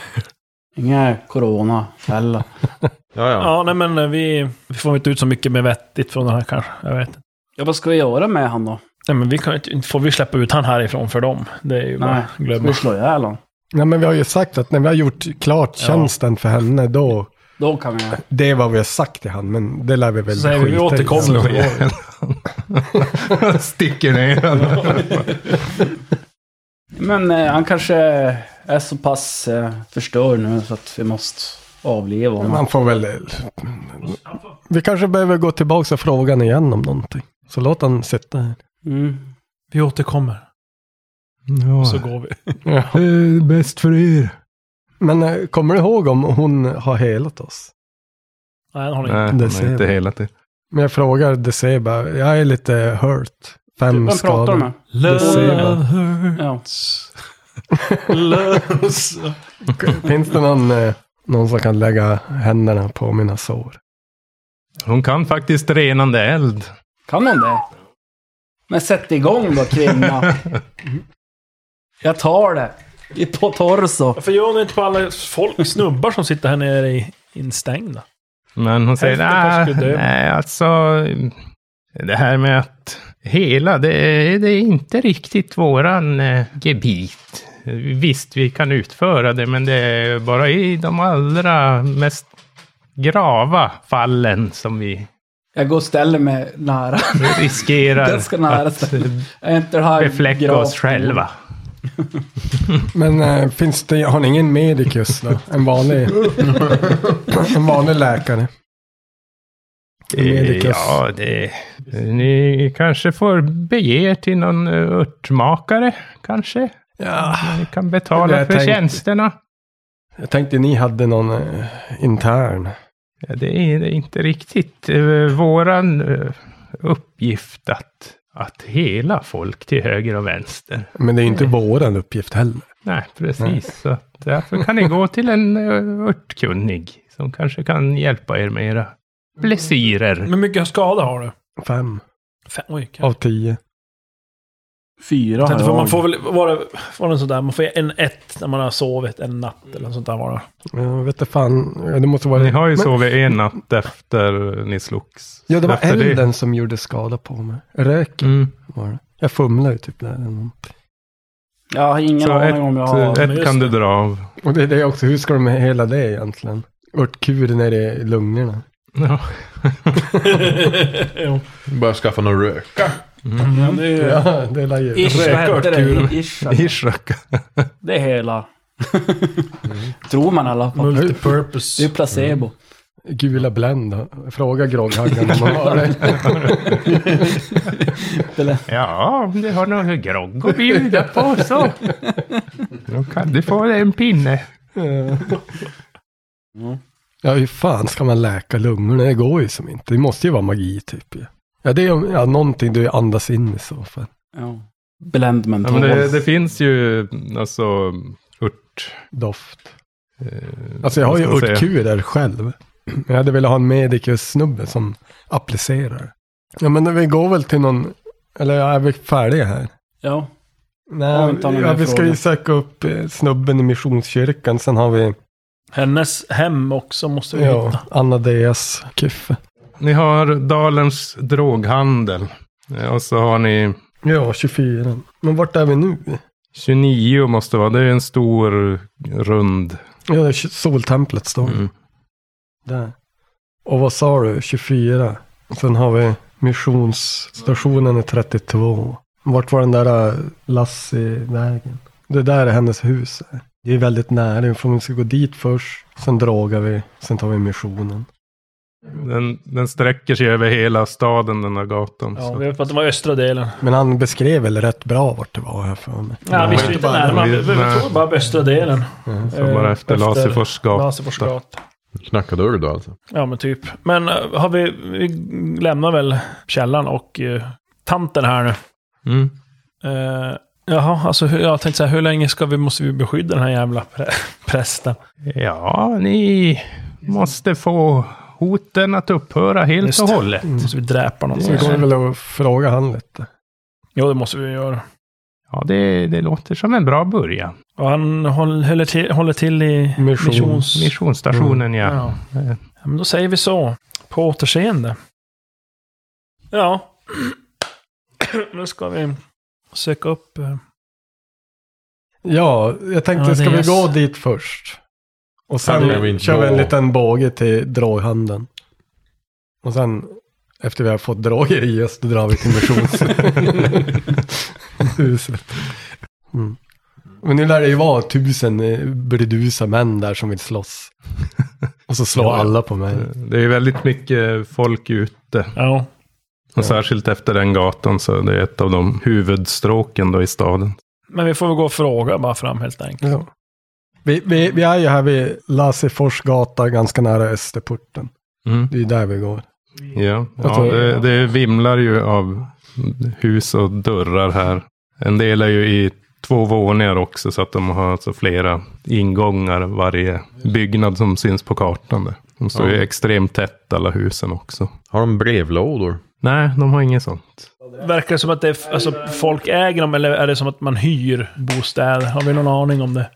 Inga corona heller.
Ja,
Ja.
ja.
nej men eh, vi, vi får inte ut så mycket med vettigt från den här kanske. Jag vet inte.
Ja, vad ska vi göra med han då?
Nej men vi kan ju inte, inte får vi släppa ut han härifrån för dem. Det är ju bara
Nej,
att
Ska
glömma.
vi slå ihjäl honom?
Nej, men vi har ju sagt att när vi har gjort klart
Ja.
tjänsten för henne, då...
Då kan vi...
Det är vad vi har sagt till han, men det lär vi väl
Så säger vi, vi
skita i.
återkommer.
Sticker ner den.
Men eh, han kanske är så pass eh, förstörd nu så att vi måste avliva honom.
Man får väl... Vi kanske behöver gå tillbaka och fråga honom igen om någonting. Så låt han sitta här.
Mm.
Vi återkommer.
Ja.
Så går vi.
Det är bäst för er.
Men eh, kommer du ihåg om hon har helat oss?
Nej, han har inte.
Nej,
Det
det
ser
är inte
vi.
hela tiden.
Men jag frågar Desiree bara, jag är lite hurt. Fem
Vem pratar du med?
skador. ser man.
Love her.
Ja.
Loves.
Finns det någon, eh, någon som kan lägga händerna på mina sår?
Hon kan faktiskt renande eld.
Kan hon det? Men sätt igång då kvinna. Jag tar det. I- På torso.
Varför gör hon inte på alla folk, snubbar som sitter här nere i instängda?
Men hon säger,
Hälften kanske skulle
nej,
dö."
nej, alltså det här med att hela, det, är- det är inte riktigt våran eh, gebit. Visst, vi kan utföra det, men det är bara i de allra mest grava fallen som vi
Jag går och ställer mig nära.
riskerar
Ganska nära
att eh,
stället. Jag är inte det här
befläcka
grav-
oss själva.
Men eh, finns det, har ni ingen medicus då? En vanlig, en vanlig läkare? En
Eh,
medicus?
Ja, det... Ni kanske får bege er till någon eh, örtmakare, kanske?
Ja,
Ni kan
Det är
betala
jag
för
tänkt.
tjänsterna.
jag tänkte ni hade någon eh, intern.
Ja, det är det är inte riktigt eh, våran eh, uppgift att, att hela folk till höger och vänster.
Men det är ju inte våran uppgift heller.
Nej, precis. Så att därför kan ni gå till en eh, örtkunnig som kanske kan hjälpa er med era blessirer.
Hur mycket skada har du?
Fem
Fem, oj, kan-
av tio.
Fyra
Jag tänkte, för
har
man
jag.
får väl, var det, var det sådär, man får en ett när man har sovit en natt eller något sånt där bara.
Jag vet inte fan. Ja, Det måste vara...
Ni har ju
Men-
sovit en natt efter ni slogs.
Ja, det var
efter
elden som gjorde skada på mig. Röken
Mm.
var det. Jag fumlade ju typ där. eller nånt.
Jag har ingen
Så
aning om jag har...
ett,
men
ett
just
kan du
det.
dra av.
Och det är det också. Hur ska de med hela det egentligen? Örtkur nere i lungorna.
Ja.
Jo.
Börja skaffa någon rök.
Ja, det är ju...
Ja, det är ju...
Ish, vad hette det? Ish, eller?
Ishaka.
det är hela.
Mm.
Tror man i alla fall. Det är
Multipurpose.
placebo.
Mm. Gula Blend. Fråga Grogghaggan om han har det.
Ja, om du har någon grogg att bjuda på så. Då kan du få en pinne.
Ja, hur fan ska man läka lungorna? Det går ju som inte. Det måste ju vara magi typ. ju. Ja, det är om- ja, någonting du andas in i så fall.
Ja. Blend
Ja, men
mental.
det, det finns ju alltså ört...
Doft.
eh,
Alltså jag har
vad
ju
ska man säga?
örtkurer själv. Men jag hade velat ha en medicus-snubbe som applicerar. Ja, men vi går väl till någon... Eller ja, är vi färdiga här?
Ja. Ja,
Nej,
inte har någon
ja,
mer
vi ska
fråga.
ju söka upp eh, snubben i missionskyrkan. Sen har vi
Hennes hem också måste vi hitta.
ja, Anna Deas kuffe.
Ni har Dalens droghandel. Eh, Och så har ni
Ja, 24. Men vart är vi nu?
29 måste vara. Det är en stor rund.
Ja, det är tj- soltemplet står
Mm.
där. Och vad sa du? 24. Sen har vi missionsstationen är 32. Vart var den där äh, Lassie-vägen? Det där är hennes hus. här. Det är väldigt nära. Vi får- vi ska gå dit först. Sen dragar vi. Sen tar vi missionen.
Den, den sträcker sig över hela staden, den här gatan.
Ja,
så.
vi vet att det var östra delen.
Men han beskrev väl rätt bra vart det var här för mig.
Nej, vi skulle inte närmare. Vi, vi, vi
Nej.
tror bara östra delen. Eh,
Mm.
Så bara efter Laserfors gata.
Laserforsgatan.
Knacka dörr då alltså.
Ja, men typ. Men eh, har vi, vi lämnar väl källan och eh, tanten här nu.
Mm.
Uh, jaha, alltså hur, jag tänkte så här, hur länge ska vi, måste vi beskydda den här jävla prä- prästen?
Ja, ni måste få hoten att upphöra helt
Just
och
det. Mm.
hållet.
Måste vi dräpa någon?
Så går det väl att fråga han lite.
Jo, det måste vi göra.
Ja, det, det låter som en bra början.
Och han håll- håller till, håller till i
Mission.
missions... Mm.
Missionsstationen, ja.
Ja. ja, men då säger vi så. På återseende. Ja. nu ska vi söka upp... eh,
Ja, jag tänkte,
Ja, det
ska
är
vi
s-
gå dit först? Och
det
sen
kan vi inte
kör vi en
gå.
liten båge till droghandeln. Och sen, efter vi har fått droger i oss, då drar vi till missionshuset. mm. Men nu lär det ju vara tusen eh, burdusa män där som vill slåss. Och så slår
Ja, ja.
alla på mig.
Det är väldigt mycket folk ute.
Ja.
Och särskilt efter den gatan så det är ett av de huvudstråken då i staden.
Men vi får väl gå och fråga bara fram helt enkelt.
Ja. Vi, vi, vi är ju här vid Lassefors gata, ganska nära Österporten.
Mm.
Det är där vi går.
Ja,
Jag
ja
tror-
det, det vimlar ju av hus och dörrar här. En del är ju i två våningar också så att de har alltså flera ingångar varje byggnad som syns på kartan. Där. De står ju extremt tätt alla husen också.
Har de brevlådor?
Nej, de har inget sånt.
Verkar det som att det är, f- alltså, folk äger dem eller är det som att man hyr bostäder? Har vi någon aning om det?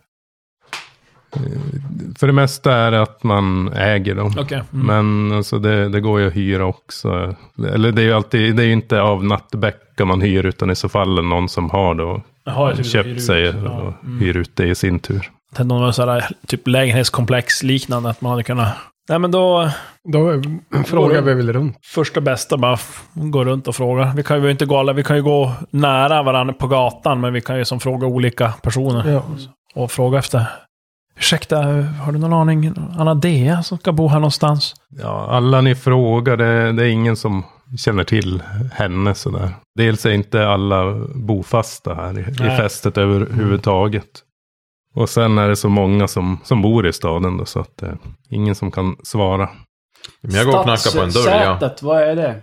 För det mesta är det att man äger dem.
Okej. Mm.
Men alltså det, det går ju att hyra också. Eller det är ju alltid, det är ju inte av Nattbäcka man hyr, utan i så fall är det någon som har det och
Jaha, jag tycker vi hyr
köpt
ut.
sig
Ja. Mm.
och hyr ut det i sin tur.
Det är någon sån här, typ lägenhetskomplex liknande, att man hade kunnat... Nej men då,
Då eh, frågar vi väl runt.
första bästa bara f- gå runt och fråga. Vi kan ju inte gå alla, vi kan ju gå nära varandra på gatan, men vi kan ju som fråga olika personer.
Ja.
Och fråga efter. Ursäkta, har du någon aning? Anna-Dea som ska bo här någonstans?
Ja, alla ni frågar, det, det är ingen som känner till henne sådär. Dels är inte alla bofasta här i, i
Nej.
fästet överhuvudtaget. Och sen är det så många som, som bor i staden då, så att det är ingen som kan svara.
Men jag går och knackar på en dörr, ja.
Stadssätet, vad är det?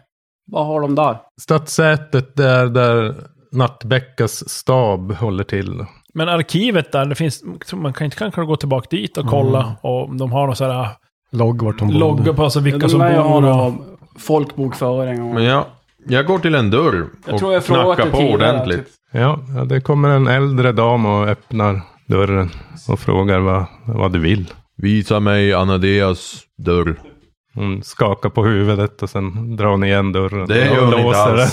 Vad har de där?
Stadssätet, det är där Nattbäckas stab håller till. då.
Men arkivet där, det finns, man kan inte kanske gå tillbaka dit och kolla
Mm.
och om de har någon sån här
Logg vart de
logga på alltså vilka
De
som
lär ju ha
bor och...
någon folkbokföring.
Men
Och...
jag, jag går till en dörr
Jag
och
tror jag frågat
knackar
det
på
tidigare,
ordentligt.
typ.
Ja, ja, det kommer en äldre dam och öppnar dörren och frågar vad, vad du vill.
Visa mig Anadeas dörr.
Hon skakar på huvudet och sen drar hon igen dörren.
Det gör
och
hon inte alls.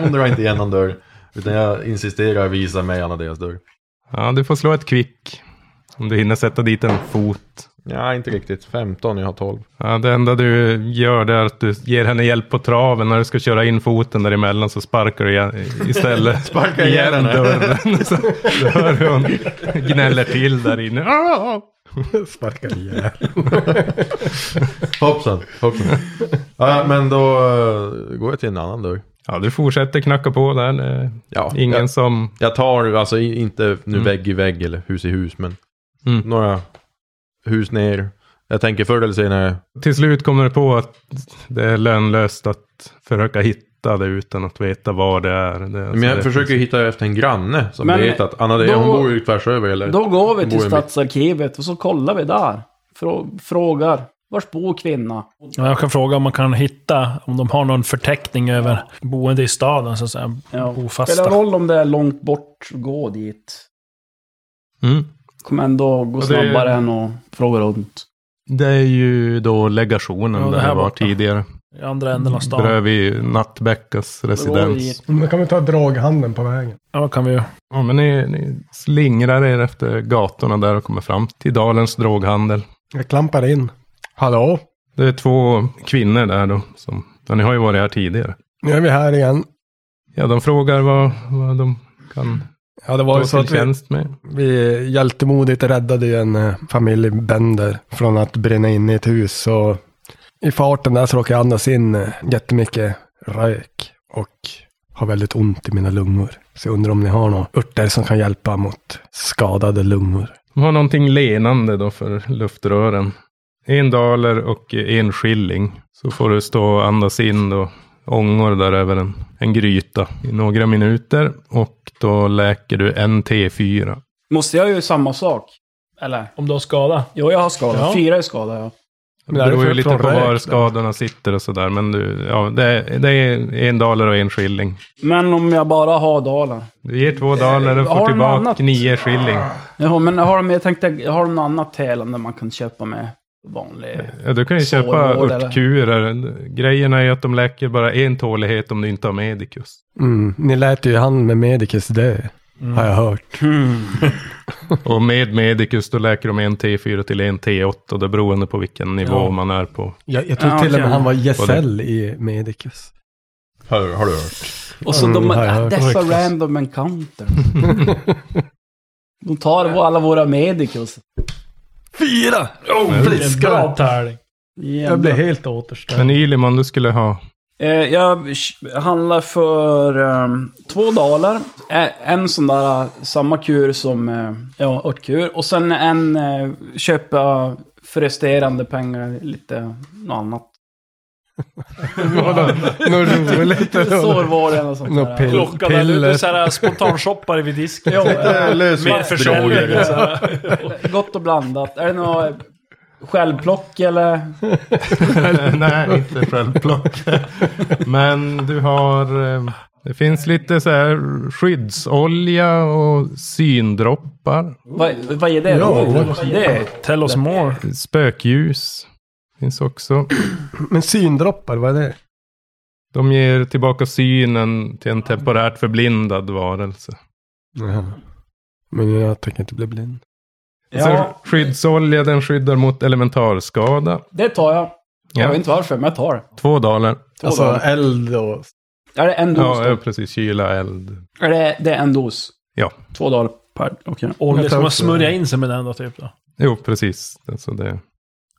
hon drar inte igenom dörr. Utan jag insisterar, visa mig Anadeas dörr.
Ja, du får slå ett kvick. Om du hinner sätta dit en fot.
Ja, inte riktigt. 15, jag har 12.
Ja, det enda du gör det är att du ger henne hjälp på traven. När du ska köra in foten däremellan så sparkar du igen, istället
Sparkar igen henne.
dörren. Så hör hur hon gnäller till där inne. Ah!
Sparkar ihjäl.
Hoppsan, hoppsan. ja, men då eh, går jag till en annan dörr.
Ja, du fortsätter knacka på där. Det är
Ja,
Ingen
jag,
som...
jag tar, alltså i- inte nu
Mm.
vägg i vägg eller hus i hus, men
Mm.
några hus ner. Jag tänker förr eller senare,
Till slut kommer du på att det är lönlöst att försöka hitta det utan att veta vad det är. Det,
men jag försöker ju hitta efter en granne som
Alltså, Men
vet att Anna, då,
då-
hon bor ju tvärs över eller?
Då går vi till
Bor i mitt-
stadsarkivet och så kollar vi där. Frå- Frågar. Vars bor kvinna?
Ja, Jag kan fråga om man kan hitta, om de har någon förteckning över boende i staden, så att säga.
Ja. Spelar
Bofasta.
roll om det är långt bort, gå dit.
Mm.
Kommer ändå gå
det-
snabbare än att fråga runt.
Det är ju då legationen
Ja, det
där
här
det var
borta.
tidigare.
I andra änden av stan.
Bredvid Nattbäckas
Då går vi
residens.
dit.
Men kan vi ta draghandeln på vägen?
Ja, kan vi ju.
Ja, men ni, ni slingrar er efter gatorna där och kommer fram till Dalens droghandel.
Jag klampar in. Hallå?
Det är två kvinnor där då. Som, ja, ni har ju varit här tidigare.
Nu är vi här igen.
Ja, de frågar vad, vad de kan
Ja, det var
ta
ju så
till
att vi,
tjänst med.
vi hjältemodigt räddade ju en eh, familj Bender från att brinna in i ett hus. Och I farten där så råkade jag andas in eh, jättemycket rök och har väldigt ont i mina lungor. Så jag undrar om ni har några örter som kan hjälpa mot skadade lungor.
De har någonting lenande då för luftrören. En daler och en skilling. Så får du stå och andas in då ångor där över en, en gryta i några minuter. Och då läker du en T4.
Måste jag ju samma sak? Eller?
Om de har skada.
Jo, jag har skadat.
Ja.
Fyra är skadade, ja.
Det
Men är det
beror ju
för-
lite
från
på
rök
var
då?
skadorna sitter och sådär. Men du, ja, det, är, det är en daler och en skilling.
Men om jag bara har dalen.
Du ger två daler och
Eh, har
får
du något
tillbaka
annat?
nio skilling.
Ja, men har de, jag tänkte, har de något annat helande man kan köpa med vanlig...
Ja, du kan ju köpa
Sårvård eller?
örtkurer. Grejen är ju att de läker bara en tålighet om du inte har medicus.
Mm. Ni lät ju han med Medicus dö,
Mm.
har jag hört.
Och med Medicus då läker de en T4 till en T8 och det är beroende på vilken nivå man är på.
Jag, jag tror
Ja,
till och med
okej.
han var gesäll i Medicus.
Har, har du hört?
Och så
Mm,
de, äh,
har jag hört.
dessa
Korrekt.
random encounter. de tar vår- alla våra medicals.
Fyra! Oh,
Bra tävling.
Jag blev
Jävlar.
helt återställd.
Men Yliman, du skulle ha...
Eh, jag sh- handlar för ehm, två daler. Ä- En sån där, eh, samma kur som eh, ja, örtkur. Och sen en eh, köpa för resterande pengar lite något annat.
Något roligt.
Sårvården och sånt
Något
där.
pill.
Klockan där, du, du
Piller.
är såhär spontanshoppare vid disken.
Ja, eh, liksom.
Lösviktsdroger.
Försäljning, så här.
Gott och blandat. Är det några Självplock eller?
Nej, inte självplock. Men du har... eh, Det finns lite så här skyddsolja och syndroppar.
Vad, vad är det?
Ja,
Vad är
what-
det?
Tell us more.
Spökljus finns också.
Men syndroppar, vad är det?
De ger tillbaka synen till en temporärt förblindad varelse.
Jaha. Men jag tänker inte bli blind.
Och sen
Ja.
Alltså, skyddsolja, den skyddar mot elementarskada.
Det tar jag. Jag
Ja.
vet inte varför, men jag tar det.
Två dagar.
Två
Alltså
dagar.
eld och...
Är det en dos?
Ja,
då?
ja, precis. Kyla, eld.
Är det, det är en dos?
Ja.
Två dagar per... Okej.
Olja som
tar
man
också-
smörjer in sig med den då, typ. Då.
Jo, precis. Alltså det,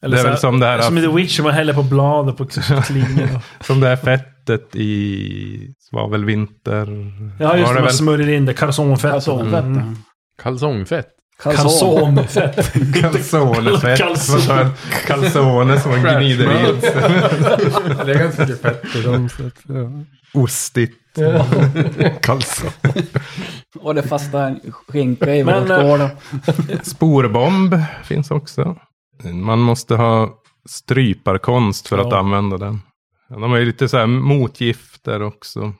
Eller
det är väl
så här,
som det här,
som i The Witcher, man häller på blad och på klingor.
som det här fettet i svavelvinter.
Ja, just det.
Var det
Man
väl-
smörjer in det. Kalsonfett.
Kalsonfett.
Mm.
Kalsongfett.
Kalsonfett.
Calzonefett. Vad sa jag? Calzone som man gnider i.
Det är ganska mycket fett i dem. Så att, ja.
Ostigt.
Kalsong.
Och det fastnar en skinka i
Men,
eh,
vårt gård.
Sporbomb finns också. Man måste ha stryparkonst för att
Ja.
använda den. De har ju lite så här motgifter också.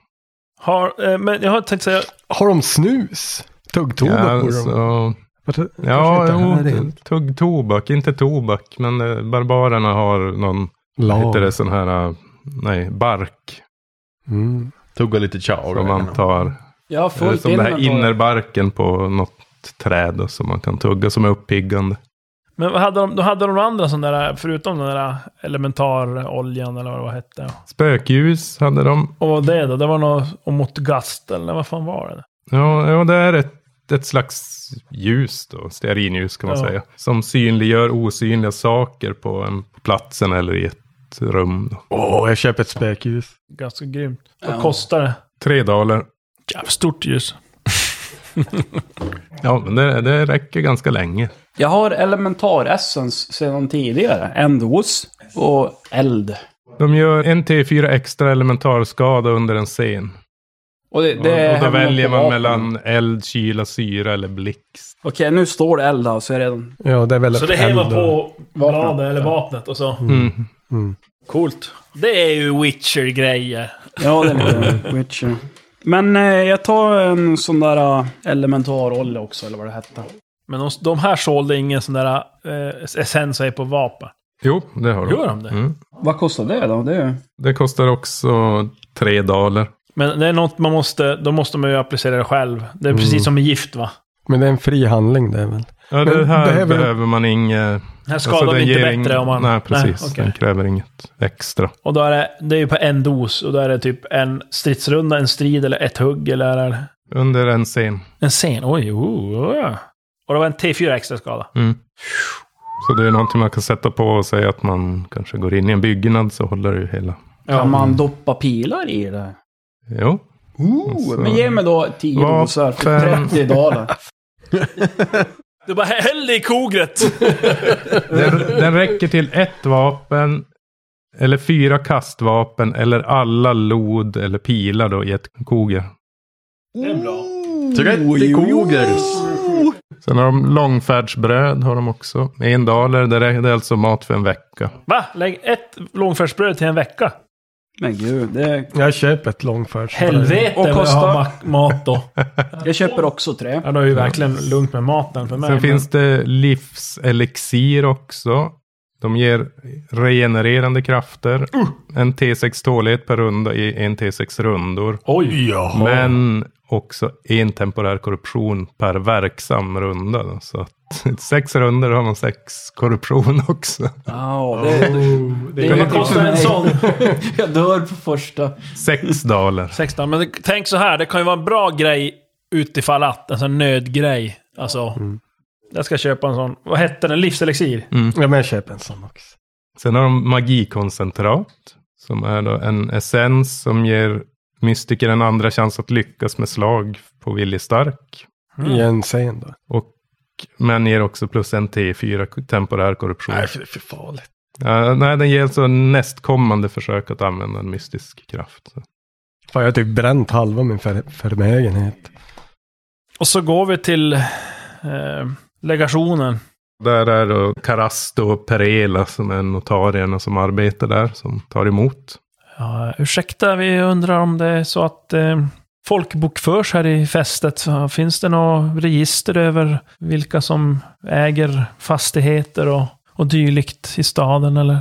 Har, eh, men jag har tänkt säga, alltså-
Har de snus? Tuggtobak
Ja,
borde de.
så,
Vart- kanske
ja
inte här är
jo,
helt
tugg tobak. Inte tobak, men eh, barbarerna har någon, vad heter det,
Lag.
sån här, eh, nej, bark
Mm.
Tugga lite chow.
som man tar.
Jag har
Eller
fullt
som den här
inventar.
innerbarken på något träd då, som man kan tugga som är uppiggande.
men vad hade de, då hade de några andra sådana där, förutom den där elementaroljan eller vad det var hette.
Spökljus hade de.
Och vad var det då? Det var något mot gast eller vad fan var det?
Ja, ja det är ett, ett slags ljus då, stearinljus kan man
Ja.
säga. Som synliggör osynliga saker på en på platsen eller i ett rum. Då.
Åh, jag köper ett spökljus.
Ganska grymt. Vad
Ja.
kostar det?
Tre daler.
Jävligt stort ljus.
Ja, men det, det räcker ganska länge.
Jag har elementar essence sedan tidigare. En dos och eld.
De gör en T4 extra elementarskada under en scen.
Och, det,
Och,
det
och då
hänger
väljer
på
man
vapen.
mellan eld, kyla, syra eller blixt.
Okej, nu står det eld alltså. Jag är redan...
Ja, det är väl
Så det
ett
häver
eld
på bladet
Vapnet.
eller vapnet och så.
Mm.
Coolt. Det är ju Witcher-grejer.
Ja, det är lite Witcher. Men eh, jag tar en sån där uh, elementarolle också, eller vad det hette.
Men de, de här sålde ingen sån där eh, essens och är på vapen.
Jo, det har de.
Gör de det?
Mm.
Vad kostar det då? Det är ju...
Det kostar också tre daler.
Men det är något man måste, då måste man ju applicera det själv. Det är
Mm.
precis som med gift va?
Men det är en fri handling det är väl?
Ja,
Men
det här
det här är väl-
behöver man inget...
Den här skadan
den
blir inte
ger
bättre
ingen-
om man...
Nej, precis.
okej.
Den kräver inget extra.
Och då är det, det är ju på en dos och då är det typ en stridsrunda, en strid eller ett hugg eller är
Under en scen.
en scen. Oj, oh, ja. Och det var en T4 extra skada.
Mm. Så det är någonting man kan sätta på och säga att man kanske går in i en byggnad så håller det ju hela.
Kan man
Mm.
doppa pilar i det?
Jo.
Ooh,
Alltså,
men ge mig då 10
vapen.
dosor
typ
för 30 daler.
Du bara häll det i kogret!
Den, den räcker till ett vapen, eller fyra kastvapen, eller alla lod eller pilar då i ett koge.
det är bra.
30 kogers.
Sen har de långfärdsbröd, har de också. En daler, det är det är alltså mat för en vecka.
Va? Lägg ett långfärdsbröd till en vecka?
Men gud, det...
Jag köper ett långfärds.
Helvete
Och
vad jag
kostar-
har ma- mat då.
Jag köper också tre.
Ja, då är ju verkligen lugnt med maten för mig.
Sen
men-
finns det livselixir också. De ger regenererande krafter.
Uh!
En T6 tålighet per runda i en T6 rundor.
Oj!
Men också en temporär korruption per verksam runda. då. Så att sex runder har man sex korruption också.
Ja, det...
Det är vad kostar en sån?
Jag dör på första.
Sex daler.
16. Men det, tänk så här, det kan ju vara en bra grej utifall att. En sån nödgrej. Alltså. Jag ska köpa en sån. Vad hette den? Livselixir?
Mm.
Ja, men jag köper en sån också.
Sen har de magikoncentrat. Som är då en essens som ger mystiker en andra chans att lyckas med slag på viljestark.
I en scen då.
Och, men ger också plus en T4 k- temporär korruption.
Nej, för det är för farligt.
Eh, nej, den ger alltså nästkommande försök att använda en mystisk kraft. Så.
Fan, jag har typ bränt halva min för förmögenhet.
Och så går vi till eh, legationen.
Där är då Karasto och Perela som är notarierna som arbetar där, som tar emot.
Ja, ursäkta, vi undrar om det är så att eh, folk bokförs här i fästet. Så Finns det något register över vilka som äger fastigheter och, och dylikt i staden? Eller?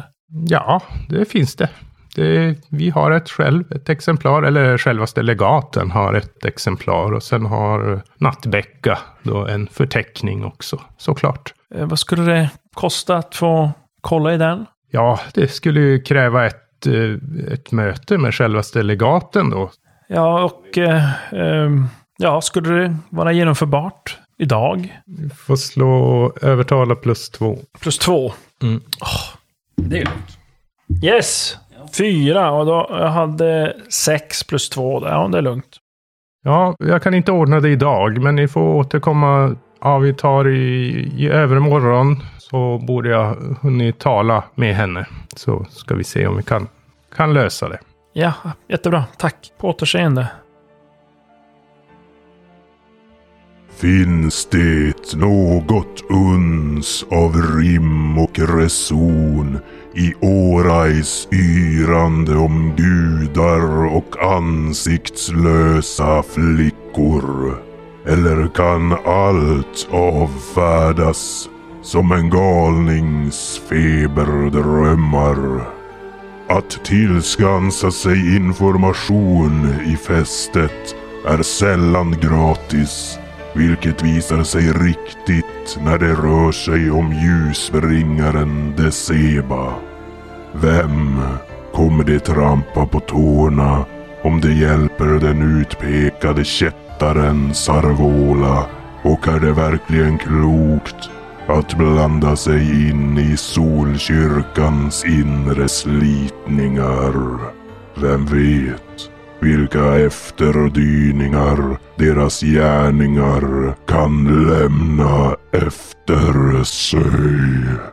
Ja, det finns det. det. Vi har ett själv, ett exemplar, eller självaste legaten har ett exemplar. Och sen har Nattbäcka då en förteckning också, såklart.
Eh, vad skulle det kosta att få kolla i den?
Ja, det skulle ju kräva ett, eh, ett möte med självaste legaten då.
Ja, och eh, ehm, ja, skulle det vara genomförbart idag?
Får slå övertala plus två.
Plus två.
Mm.
Det är lugnt.
Yes! Fyra och då jag hade sex plus två. där. Ja, det är lugnt.
Ja, jag kan inte ordna det idag, men ni får återkomma. Ja, vi tar i, i övermorgon så borde jag hunnit tala med henne. Så ska vi se om vi kan, kan lösa det.
Ja, jättebra. Tack. På återseende.
Finns det något uns av rim och reson i Orais yrande om gudar och ansiktslösa flickor? Eller kan allt avfärdas som en galnings feberdrömmar? Att tillskansa sig information i fästet är sällan gratis, vilket visar sig riktigt när det rör sig om ljusbringaren Deceba. Vem kommer det trampa på tårna om det hjälper den utpekade kättaren Sarvola? Och är det verkligen klokt att blanda sig in i Solkyrkans inre slitningar? Vem vet vilka efterdyningar deras gärningar kan lämna efter sig?